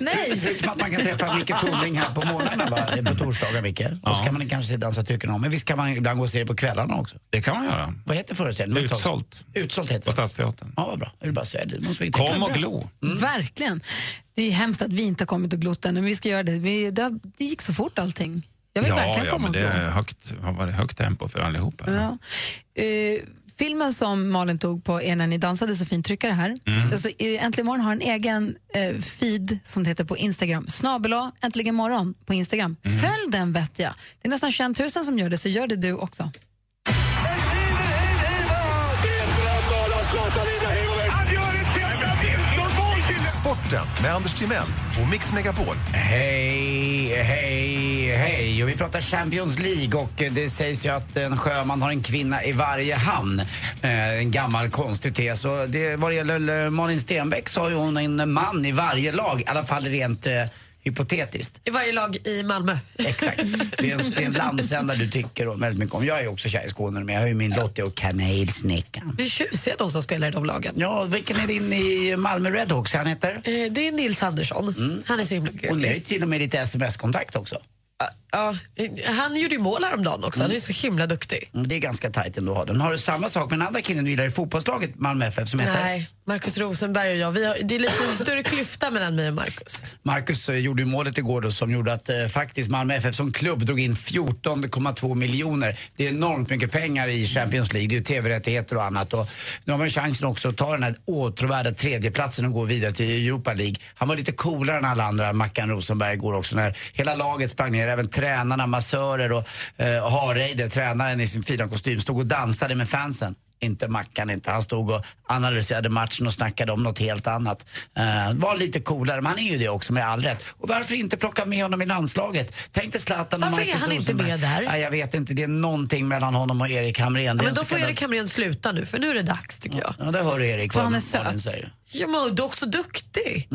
S5: Nej!
S8: Förutom att man kan träffa Micke Tornving här på morgnarna, va? Eh, på torsdagar Micke. Och så kan man kanske se dansa trycken om. Men visst kan man ibland gå och se det på kvällarna också?
S6: Det kan man göra.
S8: Vad heter föreställningen?
S6: Utsålt.
S8: Utsålt heter
S6: På
S8: det.
S6: Stadsteatern.
S8: Ja, vad bra. Jag vill bara säga det. det. måste vi-
S6: Kom och glo.
S5: Mm. Verkligen. Det är hemskt att vi inte har kommit och glott än, men vi ska göra det. Vi, det, har- det gick så fort allting. Jag vill verkligen
S6: ja,
S5: komma
S6: men
S5: och
S6: det
S5: glo.
S6: är högt, har varit högt tempo för allihopa.
S5: Ja. Eh, filmen som Malin tog på er när ni dansade så fint tryckare här.
S6: Mm.
S5: Alltså, eh, Äntligen morgon har en egen eh, feed som det heter på Instagram. Snabel Äntligen
S6: Mm.
S5: morgon på Instagram. Följ den vet jag. Det är nästan 21 000 som gör det, så gör det du också.
S18: Sporten med Anders Timell och Mix Megapol.
S8: Hej, hej, hej. Och vi pratar Champions League och eh, det sägs ju att en sjöman har en kvinna i varje hamn. Eh, En gammal konstig tes. Och det, vad det gäller eh, Malin Stenbeck så har ju hon en man i varje lag, i alla fall rent eh, hypotetiskt.
S7: I varje lag i Malmö.
S8: Exakt. Det är en, det är en landsända du tycker väldigt mycket om. Jag är ju också kär i Skåne, men jag har ju min lott i och kanelsnäckan.
S7: Hur tjusiga de som spelar i de lagen. Eh,
S8: Ja, vilken är din i Malmö Redhawks? Han heter? Mm.
S7: Det är Nils Andersson. Han är så himla
S8: Och ni har ju till och med lite sms-kontakt också.
S7: Ja, eh, han gjorde ju mål häromdagen också. Han är ju så himla duktig.
S8: Mm, Det är ganska tajt ändå att ha den. Har du samma sak med den andra killen du gillar i fotbollslaget Malmö FF som heter?
S7: Nej, Markus Rosenberg och jag, vi har, det är lite en större klyfta mellan mig och Markus.
S8: Marcus eh, gjorde ju målet igår då som gjorde att eh, faktiskt Malmö FF som klubb drog in 14,2 miljoner. Det är enormt mycket pengar i Champions League. Det är ju tv-rättigheter och annat. Och nu har man ju chansen också att ta den här åtråvärda tredjeplatsen och gå vidare till Europa League. Han var lite coolare än alla andra, Mackan Rosenberg, igår också när hela laget sprang ner. Även tränarna, massörer och eh, Hareide, tränaren i sin fina kostym, stod och dansade med fansen. Inte Mackan inte. Han stod och analyserade matchen och snackade om något helt annat. Eh, var lite coolare, men han är ju det också med all rätt. Och varför inte plocka med honom i landslaget? Tänk dig Zlatan och
S7: Varför är
S8: Marcus
S7: han inte med
S8: Rosenberg.
S7: där?
S8: Nej, jag vet inte. Det är någonting mellan honom och Erik Hamrén.
S7: Ja,
S8: Det är
S7: men
S8: en
S7: då
S8: så
S7: får
S8: kallad-
S7: Erik Hamrén sluta nu, för nu är det dags tycker jag.
S8: Ja, det hör du Erik.
S7: För han är söt.
S8: Malin säger. Mm.
S7: Ja, men du är också duktig.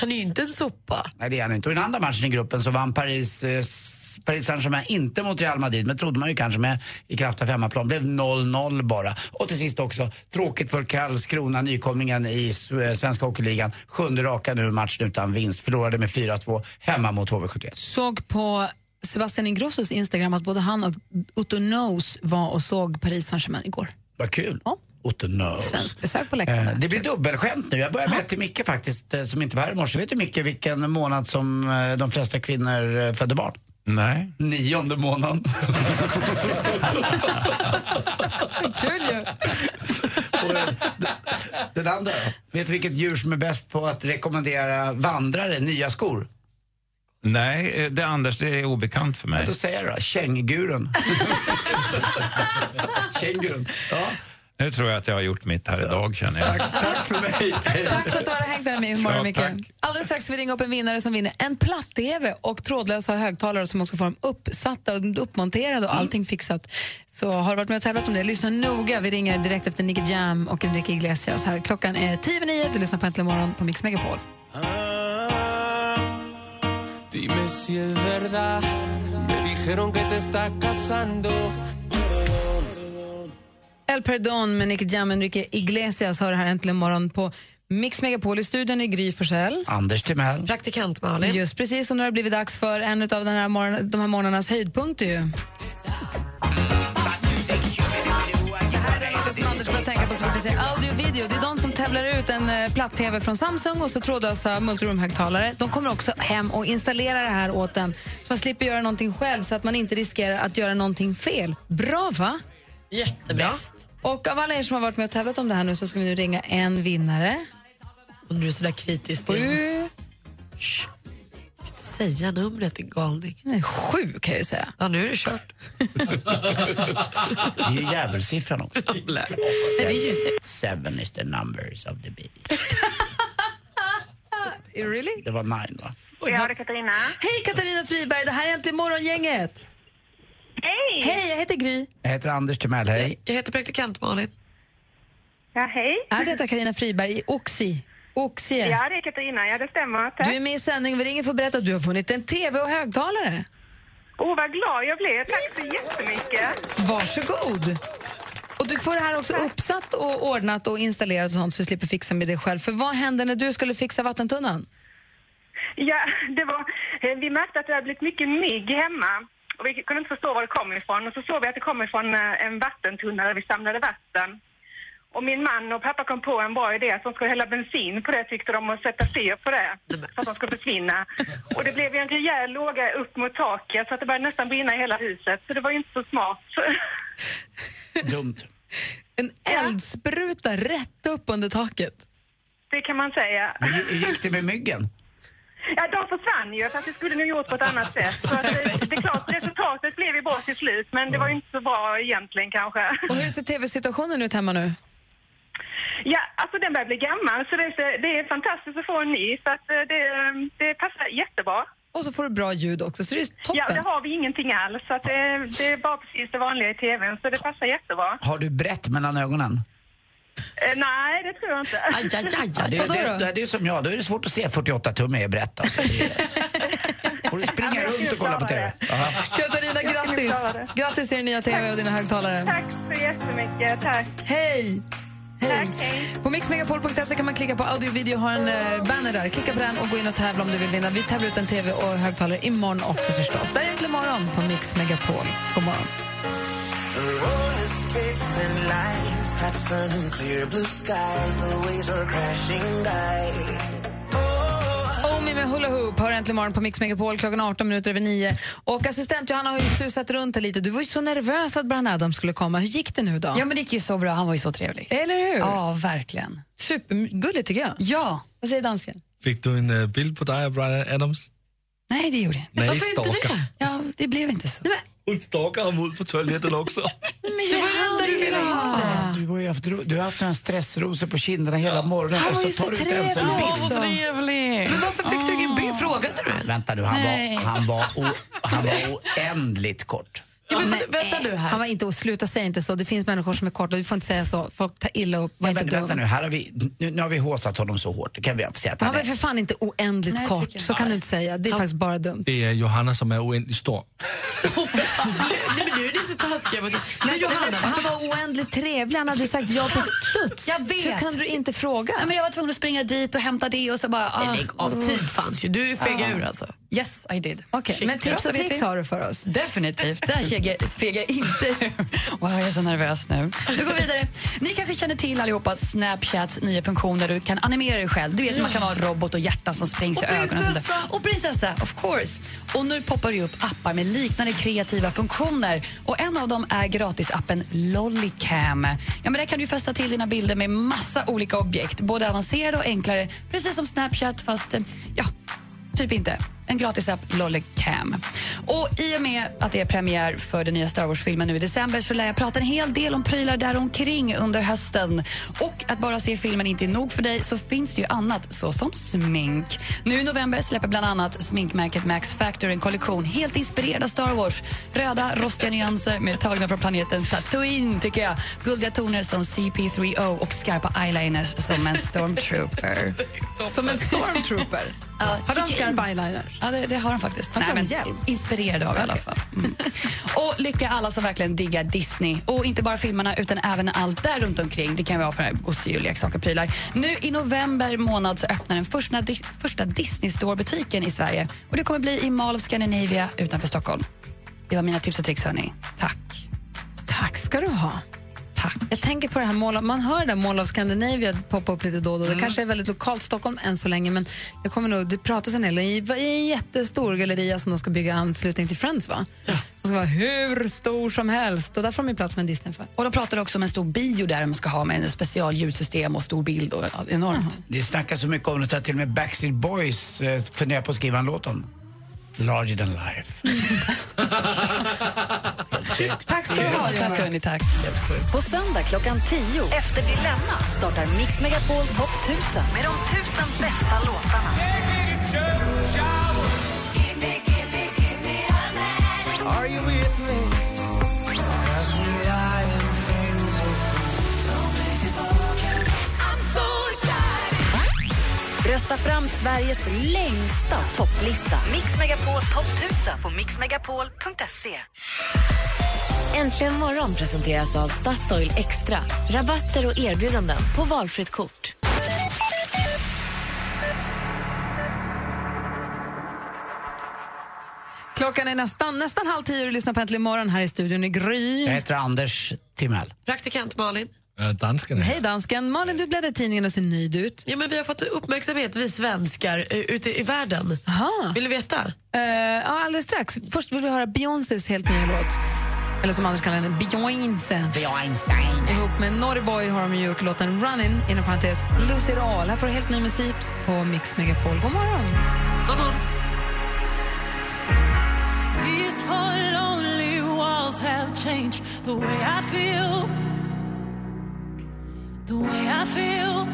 S7: Han är ju inte en sopa.
S8: Nej, det är han inte. Och i den andra matchen i gruppen så vann Paris, eh, s- Paris Saint-Germain inte mot Real Madrid, men trodde man ju kanske med i kraft av hemmaplan. Blev 0-0 bara. Och till sist också, tråkigt för Karlskrona, nykomlingen i s- eh, Svenska Hockeyligan. Sjunde raka nu matchen utan vinst. Förlorade med 4-2 hemma mot HV71.
S5: såg på Sebastian Ingrossos Instagram att både han och Otto Knows var och såg Paris Saint-Germain igår.
S8: Vad kul. Otto knows.
S5: Svensk besök på läktaren.
S8: Eh, Det blir dubbelskämt nu. Jag börjar med till Micke faktiskt, eh, som inte var här i morse. Vet du Micke vilken månad som eh, de flesta kvinnor eh, föder barn?
S6: Nej.
S8: Nionde månaden.
S7: Kul ju.
S8: eh, Den andra då? Vet du vilket djur som är bäst på att rekommendera vandrare nya skor?
S6: Nej, eh, det Anders, det är obekant för mig.
S8: Då säger jag då, kängurun. kängurun. Ja.
S6: Nu tror jag att jag har gjort mitt här idag, känner jag.
S8: Tack för mig.
S5: Tack för att du har hängt här med i morgon,
S6: Ja,
S5: Micke.
S6: tack.
S5: Alldeles strax ska vi ringa upp en vinnare som vinner en platt-tv och trådlösa högtalare som också får dem uppsatta och uppmonterade och
S6: Mm.
S5: allting fixat. Så har du varit med och tävlat om det, lyssna noga. Vi ringer direkt efter Nicky Jam och Enrique Iglesias här. Klockan är tio över nio. Du lyssnar på Äntligen morgon på Mix Megapol.
S19: Ah. Dime si es verdad. Me dijeron que te estás casando.
S5: El Perdón med Nicky Jam och Enrique Iglesias hör det här Äntligen morgon på Mix Megapol. I studion är Gry Forssell.
S8: Anders Timell.
S7: Praktikant Malin.
S5: Just precis, och nu har det blivit dags för en av den här morgon, de här morgnarnas höjdpunkter. Ju. som Anders börjar tänka på så fort vi säger audio och video. Det är de som tävlar ut en eh, platt-tv från Samsung och så trådlösa multiroom-högtalare. De kommer också hem och installerar det här åt en så man slipper göra någonting själv så att man inte riskerar att göra någonting fel. Bra, va?
S7: Jättebra.
S5: Och av alla er som har varit med och tävlat om det här nu så ska vi nu ringa en vinnare.
S7: Om du är sådär kritisk till... Shh. Jag kan inte säga numret, din galning.
S5: Nej, sju kan jag ju säga.
S7: Ja, nu är det kört.
S8: Det är ju djävulsiffran också.
S7: det är ju
S8: Seven is the numbers of the beast.
S5: Really?
S8: Det var nine va?
S5: Ja, det är Katarina. Hej Katarina Friberg, det här är Äntligen Morgongänget. Hej! Hej, jag heter Gry.
S8: Jag heter Anders Timell, hej.
S7: Jag heter praktikant Malin.
S5: Ja, hej. Är detta Karina Friberg i Oxi? Oxie.
S20: Ja, det är Katarina. Ja, det stämmer. Tack.
S5: Du är med i sändning. Vi ringer för att berätta att du har vunnit en TV och högtalare.
S20: Åh, vad glad jag blev. Tack så jättemycket.
S5: Varsågod. Och du får det här också uppsatt och ordnat och installerat och sånt så du slipper fixa med det själv. För vad hände när du skulle fixa vattentunnan?
S20: Ja, det var, eh, vi märkte att det hade blivit mycket mygg hemma. Och vi kunde inte förstå var det kom ifrån. Och så såg vi att det kom ifrån eh, en vattentunna där vi samlade vatten. Och min man och pappa kom på en bra idé att de skulle hälla bensin på det tyckte de och sätta fyr på det för att de skulle försvinna. Och det blev ju en rejäl låga upp mot taket så att det började nästan brinna i hela huset. Så det var ju inte så smart.
S8: Dumt.
S5: En eldspruta rätt upp under taket.
S20: Det kan man säga.
S8: Men hur gick det med myggen?
S20: Ja, de försvann ju, fast det skulle nog gjort på ett annat sätt. Så att, eh, det är klart, resultatet blev ju bra till slut, men det var ju inte så bra egentligen kanske.
S5: Och hur ser tv-situationen ut hemma nu?
S20: Ja, alltså den börjar bli gammal så det är, så- det är fantastiskt att få en ny så att eh, det, det passar jättebra.
S5: Och så får du bra ljud också, så det är toppen.
S20: Ja, det har vi ingenting alls så att det, det är bara precis det vanliga i TVn så det passar jättebra.
S8: Har du brett mellan ögonen?
S20: Eh, nej, det tror jag inte.
S8: Ja, det, det, det, det är som jag, då är det svårt att se 48 tum är brett. Alltså. Det- Får du springa runt och kolla på TV? Jaha.
S5: Katarina,
S20: Jag skulle
S5: grattis!
S20: klara det.
S5: Grattis till din nya TV och dina högtalare.
S20: Tack så jättemycket, tack.
S5: Hej! Hej. På mixmegapol.se kan man klicka på audio och video, har en eh, banner där. Klicka på den och gå in och tävla om du vill vinna. Vi tävlar ut en TV och högtalare imorgon också förstås. Det här är Äntligen morgon på Mix Megapol. God morgon.
S2: Roller skates, thin lines, hot sun and clear blue skies. The waves are crashing by.
S5: Omi med Hula Hoop hör äntligen morgon på Mix Megapol klockan 18 minuter över 9. Och assistent Johanna har ju susat runt här lite. Du var ju så nervös att Bryan Adams skulle komma. Hur gick det nu då?
S21: Ja, men det gick ju så bra. Han var ju så trevlig.
S5: Eller hur?
S21: Ja, verkligen.
S5: Supergulligt tycker jag.
S21: Ja.
S5: Vad säger dansken?
S22: Fick du en eh, bild på dig och Brian Adams?
S21: Nej, det gjorde jag inte.
S22: Nej, Varför inte stalker. det?
S21: Ja, det blev inte så.
S22: Hon stalkar honom ut på toaletten också.
S21: Det var ju det enda du ville ha.
S8: Alltså, du, har ju haft, ro- du har haft den här stressrosor på kinderna hela morgonen
S21: Han
S8: och
S21: var
S8: så
S21: ju
S8: tar
S21: så
S8: du inte ens en
S21: trevlig också.
S8: bild.
S21: trevlig. Men varför fick du ingen bild? Frågade du?
S8: Vänta nu, han var,
S21: Nej.
S8: han, var o, han var oändligt kort.
S5: Nej, Han var inte, och sluta säga inte så. Det finns människor som är korta. Du får inte säga så. Folk tar illa upp. Var
S8: Men
S5: inte
S8: vänta, vänta
S5: dum.
S8: nu, här har vi, nu, nu har vi håsat honom så hårt. Det kan vi säga att
S5: Han
S8: han
S5: var
S8: är.
S5: för fan inte oändligt
S21: Nej,
S5: kort.
S21: tycker jag
S5: Så kan du inte säga. Det är faktiskt bara dumt.
S22: Det är Johanna som är oändligt stor.
S7: Nej, men nu är ni så taskiga. mot- Men
S5: Men
S7: Johanna,
S5: han var oändligt trevlig. Han hade ju sagt ja på studs.
S21: Jag vet.
S5: Hur kan du inte fråga?
S21: Ja, men jag var tvungen att springa dit och hämta det och så bara... Ah,
S7: lägg av. Tid fanns ju. Du är fega ur alltså.
S21: Yes, I did.
S5: Okej,
S21: Shit,
S5: men tips
S21: jag
S5: och tricks
S21: vet
S5: har du för oss.
S21: Definitivt. Där fegar fegar jag inte ur. Wow, jag är så nervös nu. Nu går vi vidare. Ni kanske känner till allihopa Snapchats nya funktion där du kan animera dig själv. Du vet, man kan vara en robot och hjärtan som sprängs i ögonen. Och, sånt där. och prinsessa, of course. Och nu poppar det ju upp appar med liknande kreativa funktioner. Och en av dem är gratisappen Lollycam. Ja, men där kan du fästa till dina bilder med massa olika objekt. Både avancerade och enklare. Precis som Snapchat, fast eh, ja, Typ inte. En gratis app, Lollycam. Och I och med att det är premiär för den nya Star Wars-filmen nu i december så lär jag prata en hel del om prylar däromkring under hösten. Och att bara se filmen inte är nog för dig så finns det ju annat, såsom smink. Nu i november släpper bland annat sminkmärket Max Factor en kollektion helt inspirerad av Star Wars. Röda, rostiga nyanser med tagna från planeten Tatooine, tycker jag. Guldiga toner som CP3O och skarpa eyeliners som en stormtrooper.
S5: Som en stormtrooper. Har de skarpa eyeliners?
S21: Ja, det, det har de faktiskt.
S5: Han tror
S21: men
S5: en hjälm.
S21: Inspirerad av i alla fall. Mm. och lycka alla som verkligen diggar Disney. Och inte bara filmerna, utan även allt där runt omkring. Det kan vara för här gosedjur, leksaker, prylar. Nu i november månad så öppnar den första, Dis- första Disney Store-butiken i Sverige. Och Det kommer bli i Mall of Scandinavia utanför Stockholm. Det var mina tips och tricks, hörni. Tack.
S5: Tack ska du ha. Tack. Jag tänker på det här mål, man hör det där Mall of Scandinavia poppa upp lite då och då. Det kanske är väldigt lokalt Stockholm än så länge, men det kommer nog, det pratas en hel del. I i en jättestor galleria som de ska bygga i anslutning till Friends, va? Som ska vara hur stor som helst och där får de ju plats med en Disney-affär.
S21: Och De pratade också om en stor bio där de ska ha med en special ljudsystem och stor bild. Och, ja, enormt.
S8: Det snackas så mycket om det så att till och med Backstreet Boys eh, funderar på att skriva en låt om Larger than life.
S5: Tack ska du ha,
S21: Tack,
S5: Johanna.
S21: hörni, tack.
S1: På söndag klockan 10 efter Dilemma startar Mix Megapol Topp 1000 med de tusen bästa låtarna.
S2: Are you with me? As we lie in flames of
S1: Rösta fram Sveriges längsta topplista. Mix Megapol Topp 1000 på mixmegapol.se.
S14: Äntligen morgon presenteras av Statoil Extra. Rabatter och erbjudanden på valfritt kort.
S5: Klockan är nästan, nästan halv tio och du lyssnar på Äntligen morgon här i studion i Gry.
S8: Jag heter Anders Timell.
S7: Praktikant Malin.
S22: Dansken
S5: Hej dansken. Malin, du bläddrar i tidningen och ser nöjd ut.
S7: Ja, men vi har fått uppmärksamhet, vi svenskar, eh, ute i världen. Vill du veta?
S5: Eh, ja, alldeles strax. Först vill vi höra Beyoncés helt nya låt. Eller som Anders kallar henne, Beyoncé.
S8: Beyoncé.
S5: Ihop med Naughty Boy har de ju gjort låten Runnin', inom parentes, Lose It All. Här får du helt ny musik på Mix Megapol. God morgon!
S7: God morgon!
S23: These four lonely walls have changed the way I feel.
S10: the way I feel.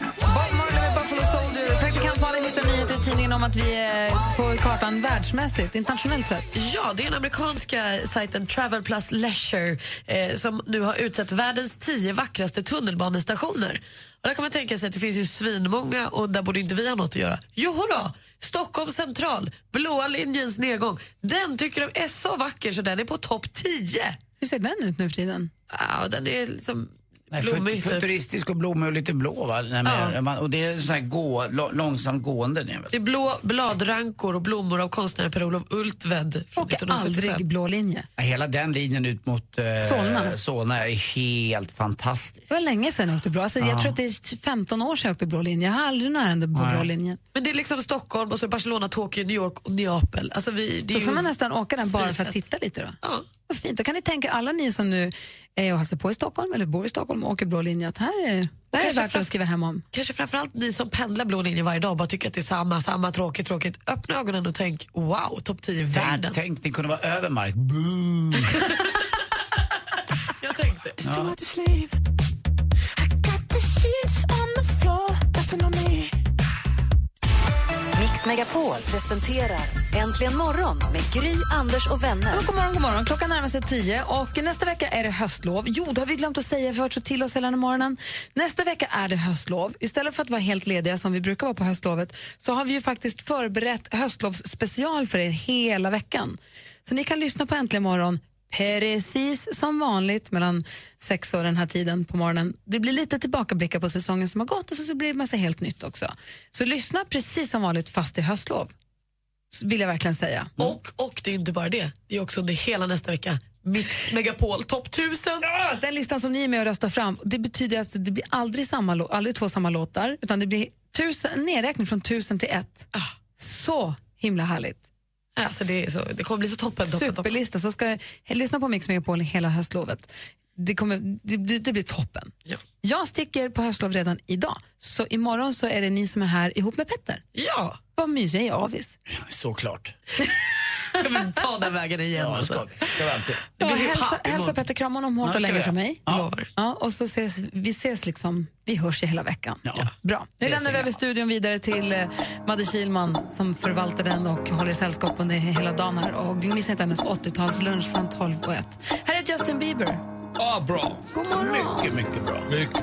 S5: Bob Marley med Buffalo Soldier. Praktikant Malin hittar nyheter i tidningen om att vi är på kartan världsmässigt, internationellt sett.
S7: Ja, det är den amerikanska sajten Travel Plus Leisure eh, som nu har utsett världens tio vackraste tunnelbanestationer. Och där kan man tänka sig att det finns ju svinmånga och där borde inte vi ha något att göra. Jo då, Stockholm central, blåa linjens nedgång. Den tycker de är så vacker så den är på topp 10.
S5: Hur ser den ut nu för tiden?
S7: Ja, den är liksom
S8: Nej,
S7: blommig.
S8: fut-
S7: typ.
S8: futuristisk och blommig och lite blå va? Nej, men,
S7: Ja.
S8: man, och det är sån här gå, lo, långsamt gående. Det är väl.
S7: Det är blå bladrankor och blommor av konstnären Per-Olof Ultved från
S5: Och aldrig blå linje.
S8: Hela den linjen ut mot eh,
S5: Solna.
S8: Solna är helt fantastisk.
S5: Det var länge sedan jag åkte blå. Alltså, Jag
S8: Ja.
S5: tror att det är 15 år sedan jag åkte blå linje. Jag har aldrig något ärende på
S8: Nej.
S5: blå linjen.
S7: Men det är liksom Stockholm, och så Barcelona, Tokyo, New York och Neapel. Alltså vi, det
S5: Så
S7: är
S5: ska
S7: ju
S5: man nästan åka den bara för att
S7: svinfett.
S5: titta lite då.
S7: Ja.
S5: Vad fint. Då kan ni tänka alla ni som nu är och hälsar på i Stockholm eller bor i Stockholm och åker blå linje att här är, det här är
S7: kanske
S5: värt att
S7: fram-
S5: skriva hem om.
S7: Kanske framförallt ni som pendlar blå linjen varje dag och bara tycker att det är samma, samma, tråkigt, tråkigt. Öppna ögonen och tänk, wow, topp 10 i världen.
S8: Tänk, ni kunde vara över Mark. Boo.
S7: Jag tänkte.
S8: Ja.
S14: Mix Megapol presenterar Äntligen morgon med Gry, Anders och
S5: Ja,
S14: vänner.
S5: men god morgon, god morgon. Klockan närmar sig tio och nästa vecka är det höstlov. Jo, det har vi glömt att säga, för vi har hört så till oss hela den här morgonen. Nästa vecka är det höstlov. Istället för att vara helt lediga som vi brukar vara på höstlovet så har vi ju faktiskt förberett höstlovsspecial för er hela veckan. Så ni kan lyssna på Äntligen morgon precis som vanligt mellan sex och den här tiden på morgonen. Det blir lite tillbakablickar på säsongen som har gått och så så blir det massa helt nytt också. Så lyssna precis som vanligt fast i höstlov, vill jag verkligen säga. Mm.
S7: Och, och det är inte bara det, det är också under hela nästa vecka. Mix Megapol topp 1000.
S5: Den listan som ni är med och röstar fram, det betyder att det blir aldrig, samma, lå- aldrig två samma låtar, utan det blir tusen, nedräkning från tusen till ett. Så himla härligt.
S7: Ah. Alltså det, är så, det kommer bli så toppen. toppen, toppen.
S5: Superlista, så ska jag lyssna på Mix Megapol hela höstlovet. Det, kommer, det, blir- det blir toppen. Jag sticker på höstlov redan idag, så imorgon så är det ni som är här ihop med Petter.
S7: Ja.
S5: Vad mysiga jag är avis.
S8: Såklart.
S7: Ska vi ta den vägen igen? alltså?
S8: Ja, det ska vi. Det ska vi alltid.
S5: Ja,
S7: blir hip-hop
S5: hälsa, hälsa
S7: imorgon.
S5: Petter, krama honom
S7: Ja,
S5: hårt
S7: ska
S5: och länge
S7: jag.
S5: från mig.
S7: Ja.
S5: Lovar. Ja, och så ses, vi ses liksom, vi hörs i hela veckan. Bra. Nu
S7: Det
S5: lämnar
S7: ser
S5: vi över studion vidare till eh, Madde Kilman som förvaltar den och håller sällskap under hela dagen här. Och missa inte hennes 80-talslunch från 12 och 1. Här är Justin Bieber.
S22: Ja, bra.
S5: God morgon.
S22: Mycket, mycket bra. Mycket bra.